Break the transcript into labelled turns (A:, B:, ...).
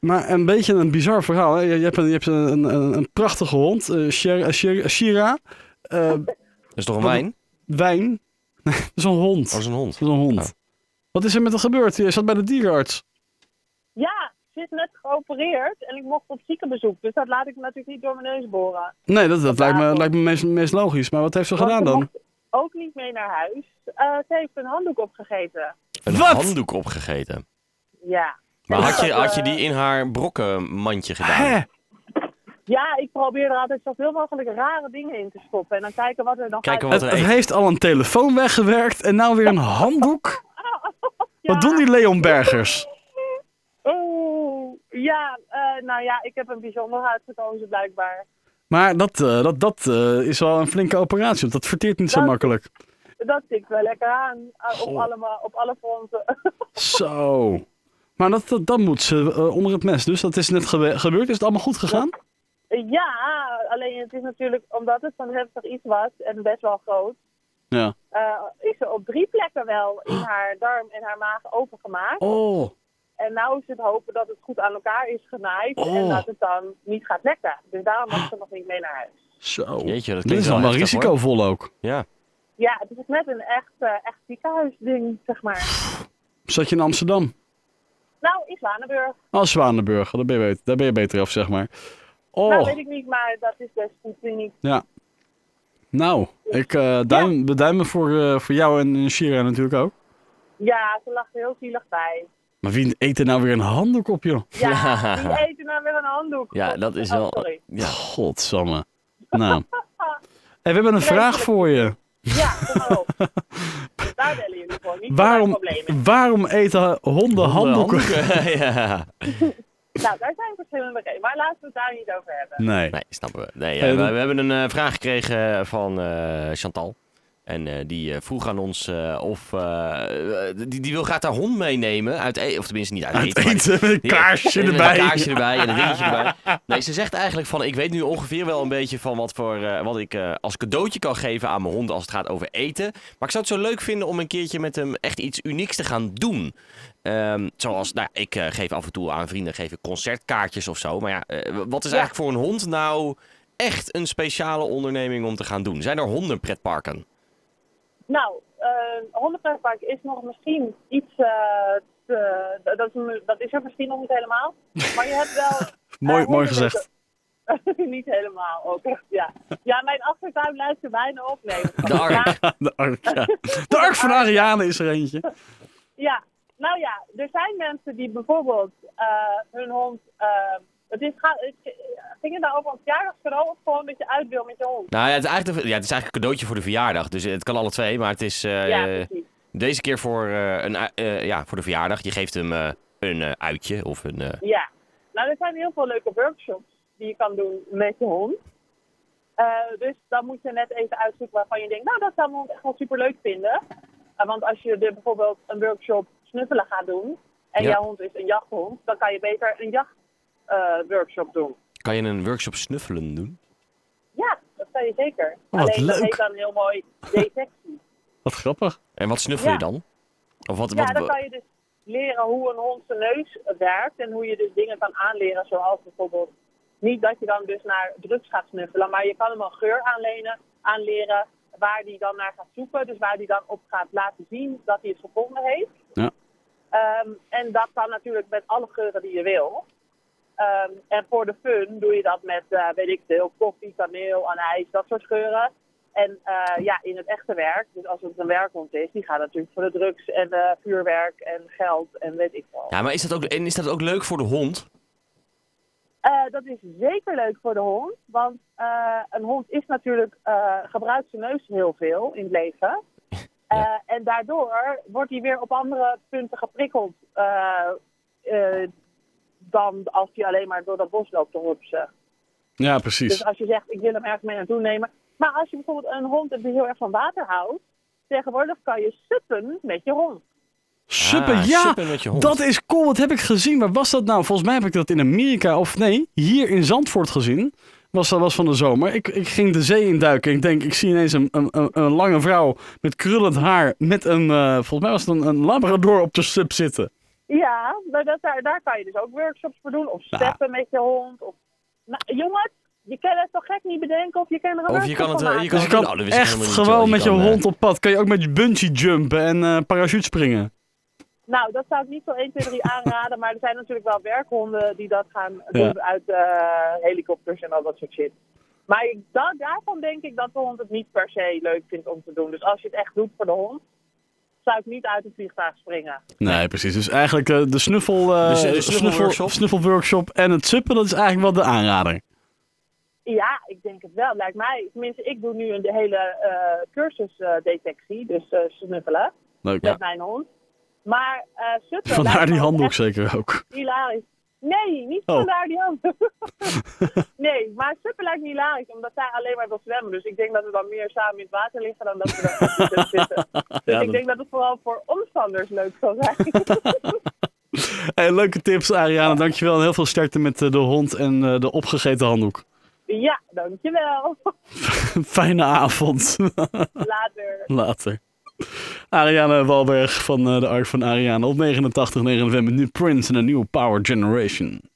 A: Maar een beetje een bizar verhaal. Hè? Je, je hebt een, je hebt een, een, een prachtige hond, eh, Shira, Shira, Shira, eh,
B: Dat is toch een
A: Wat-
B: wijn?
A: wijn. Nee, dat is een hond.
B: Oh, dat is een hond.
A: Dat is een hond.
B: Oh.
A: Wat is er met haar gebeurd? Je zat bij de dierenarts.
C: Ja, ze is net geopereerd en ik mocht op ziekenbezoek. Dus dat laat ik natuurlijk niet door mijn neus boren.
A: Nee, dat, dat
C: Op
A: lijkt me,
C: tafel.
A: lijkt me meest, meest logisch. Maar wat heeft ze
C: Want
A: gedaan
C: ze
A: dan?
C: mocht Ook niet mee naar huis. Eh, ze heeft een handdoek opgegeten.
B: Een
A: Wat?
B: handdoek opgegeten.
C: Ja.
B: Maar
C: En
B: had
C: dat,
B: je, had je
C: eh,
B: die in haar brokkenmandje gedaan?
A: Hè?
C: Ja, ik probeer er altijd zoveel mogelijk rare dingen in te stoppen. En dan kijken wat er dan
B: Kijken
C: gaat.
B: wat
A: Het,
B: er
A: het
B: eet.
A: heeft al een telefoon weggewerkt en nou weer een handdoek.
C: Ja.
A: Wat doen die Leon Bergers?
C: Oeh, Oh, ja, eh, nou ja, ik heb een bijzonder uitgekozen blijkbaar.
A: Maar dat, eh, dat, dat eh, is wel een flinke operatie. want Dat verteert niet zo
C: Dat-
A: makkelijk.
C: Dat tikt wel lekker aan eh, op, allemaal, op alle fronten.
A: Zo. Maar dat, dat, dat moet ze eh, onder het mes. Dus dat is net gebe- gebeurd. Is het allemaal goed gegaan?
C: ja, alleen het is natuurlijk omdat het zo'n heftig iets was en best wel groot.
A: Ja.
C: eh, is ze op drie plekken wel in haar darm en haar maag opengemaakt.
A: Oh.
C: En nou is het hopen dat het goed aan elkaar is genaaid en
A: Oh.
C: dat het dan niet gaat lekken. Dus daarom mag ze nog niet mee naar huis.
A: Zo.
B: Jeetje, dat klinkt
A: Dit is
B: wel
A: allemaal
B: heftig, hoor.
A: risicovol ook.
B: Ja.
C: Ja, het is net een echt, eh, echt ziekenhuisding, zeg maar.
A: Zat je in Amsterdam?
C: Nou, in Zwanenburg.
A: Als Zwanenburg. Daar ben, je, bet- daar ben je beter af, zeg maar. Oh.
C: Nou, weet ik niet, maar dat is dus best goed, vind ik.
A: Ja. Nou, ik eh duim, beduim voor, eh, voor jou en eh, Shira natuurlijk ook.
C: Ja, ze lag er heel zielig bij.
A: Maar wie eet er nou weer een handdoek op, joh?
C: Ja, die eten nou weer een handdoek.
B: Ja, dat is wel...
C: Oh, sorry.
B: ja.
A: Godsamme. Nou. Hey, we hebben een vraag voor je.
C: Ja, kom maar op. Daar bellen jullie voor, niet
A: Waarom,
C: Waarom? problemen.
A: waarom eten honden handdoeken?
B: ja.
C: Nou, daar zijn verschillende redenen, maar laten we het daar niet over hebben.
A: Nee.
B: Nee, snappen we. Nee,
A: Eh,
B: eh, we,
A: dat-
B: we hebben een eh, vraag gekregen van eh, Chantal. En eh, die eh, vroeg aan ons eh, of... eh, eh, die, die wil graag haar hond meenemen. Uit e- of tenminste niet uit,
A: Uit
B: eten. maar-
A: eten met een
B: Ja,
A: kaarsje
B: met
A: erbij.
B: Een kaarsje erbij en een dingetje erbij. Nee, ze zegt eigenlijk van... Ik weet nu ongeveer wel een beetje van wat, voor, eh, wat ik eh, als cadeautje kan geven aan mijn hond als het gaat over eten. Maar ik zou het zo leuk vinden om een keertje met hem echt iets unieks te gaan doen. Ehm, zoals, nou, ik eh, geef af en toe aan vrienden geef ik concertkaartjes of zo. Maar ja, eh, wat is
C: Ja.
B: eigenlijk voor een hond nou echt een speciale onderneming om te gaan doen? Zijn er honden pretparken?
C: Nou, eh hondenpretpark is nog misschien iets... eh, te- dat, is, een- dat is er misschien nog niet helemaal. Maar je hebt wel... eh,
A: Mooi, mooi
C: hondenweken-
A: gezegd.
C: niet helemaal, ook echt, ja. Ja, mijn achtertuin luidt er bijna op. Nee, dat kan
B: De
C: niet.
B: ark.
A: De ark, ja. De ark van Ariane is er eentje.
C: Ja, nou ja, er zijn mensen die bijvoorbeeld eh, hun hond. eh, het is, ga, het- ging het nou over een verjaardagscadeau of gewoon dat je uit wil met je hond?
B: Nou ja, het is eigenlijk, ja, het is eigenlijk een cadeautje voor de verjaardag. Dus het kan alle twee, maar het is... eh,
C: ja, precies.
B: Deze keer voor, eh, een, ui- eh, ja, voor de verjaardag. Je geeft hem eh, een eh, uitje of een... eh,
C: Ja. Nou, er zijn heel veel leuke workshops die je kan doen met je hond. Eh, dus dan moet je net even uitzoeken waarvan je denkt, nou, dat zou mijn hond echt wel superleuk vinden. Eh, want als je er bijvoorbeeld een workshop snuffelen gaat doen en
B: Ja.
C: jouw hond is een jachthond, dan kan je beter een jachtworkshop workshop doen.
B: Kan je een workshop snuffelen doen?
C: Ja, dat kan je zeker.
A: Oh, Wat
C: Alleen dat
A: leuk.
C: heet dan heel mooi detectie.
A: Wat grappig.
B: En wat snuffel je
C: Ja.
B: dan? Of wat,
C: ja,
B: wat,
C: dan kan je dus leren hoe een hond zijn neus werkt en hoe je dus dingen kan aanleren, zoals bijvoorbeeld niet dat je dan dus naar drugs gaat snuffelen, maar je kan hem een geur aanlenen, aanleren waar hij dan naar gaat zoeken, dus waar hij dan op gaat laten zien dat hij het gevonden heeft.
A: Ja.
C: Ehm, en dat kan natuurlijk met alle geuren die je wil. Ehm, en voor de fun doe je dat met, eh, weet ik veel, koffie, kaneel, anijs, dat soort geuren. En eh, ja, in het echte werk, dus als het een werkhond is, die gaat natuurlijk voor de drugs en eh, vuurwerk en geld en weet ik wel.
B: Ja, maar is dat, ook, en is dat ook leuk voor de hond?
C: Eh, dat is zeker leuk voor de hond, want eh, een hond is natuurlijk, eh, gebruikt zijn neus heel veel in het leven. Eh, en daardoor wordt hij weer op andere punten geprikkeld eh, eh, dan als hij alleen maar door dat bos loopt te hupsen.
A: Ja,
C: Dus
A: precies.
C: als je zegt, ik wil hem ergens mee naartoe nemen. Maar als je bijvoorbeeld een hond hebt die heel erg van water houdt, tegenwoordig kan je suppen met je hond.
A: Super,
B: Ah,
A: ja.
B: suppen met je hond.
A: Dat is cool. Wat heb ik gezien? Waar was dat nou? Volgens mij heb ik dat in Amerika of nee, hier in Zandvoort gezien. Was dat was van de zomer. Ik, ik ging de zee induiken. Ik denk, ik zie ineens een, een, een, een lange vrouw met krullend haar. Met een, eh, volgens mij was het een, een labrador op de sub zitten.
C: Ja, maar dat, daar, daar kan je dus ook workshops voor doen. Of
A: Nou.
C: steppen met je hond. Of... Nou, jongens, je kan het toch gek niet bedenken of je kan er een
B: Of je
C: workshop
B: kan het,
C: van
B: eh,
C: maken.
A: Dus je
B: Nou,
A: kan
B: dat wist ik
A: echt
B: helemaal niet,
A: gewoon
B: joh. Je
A: met je
B: kan, eh,
A: hond op pad. Kan je ook met bungee jumpen en eh parachute springen.
C: Nou, dat zou ik niet zo 1, 2, 3 aanraden. Maar er zijn natuurlijk wel werkhonden die dat gaan
A: Ja.
C: doen uit eh, helikopters en al dat soort shit. Maar ik, da- daarvan denk ik dat de hond het niet per se leuk vindt om te doen. Dus als je het echt doet voor de hond, zou ik niet uit een vliegtuig springen.
A: Nee, precies. Dus eigenlijk eh, de, snuffel, eh,
B: Dus, eh, de
A: snuffel,
B: snuffelworkshop.
A: snuffelworkshop en het suppen, dat is eigenlijk wel de aanrader.
C: Ja, ik denk het wel. Lijkt mij, tenminste, ik doe nu een hele eh cursusdetectie, dus eh, snuffelen
A: Leuk.
C: met mijn hond. Maar eh suppen
A: Vandaar
C: lijkt
A: die
C: me ook
A: handdoek
C: echt
A: zeker ook.
C: hilarisch. Nee, niet
A: Oh.
C: vandaar die hand. nee, maar suppen lijkt me hilarisch, omdat zij alleen maar wil zwemmen. Dus ik denk dat we dan meer samen in het water liggen dan dat we er echt tussen zitten. Dus
A: Ja,
C: ik
A: dat-
C: denk dat het vooral voor omstanders leuk zal zijn.
A: Hey, leuke tips, Ariane. Dankjewel. En heel veel sterkte met eh, de hond en eh, de opgegeten handdoek.
C: ja, dankjewel.
A: Fijne avond.
C: Later.
A: Later. Ariane Walberg van eh, de Ark van Ariane op 89 9 november. Nu Prince en een nieuwe Power Generation.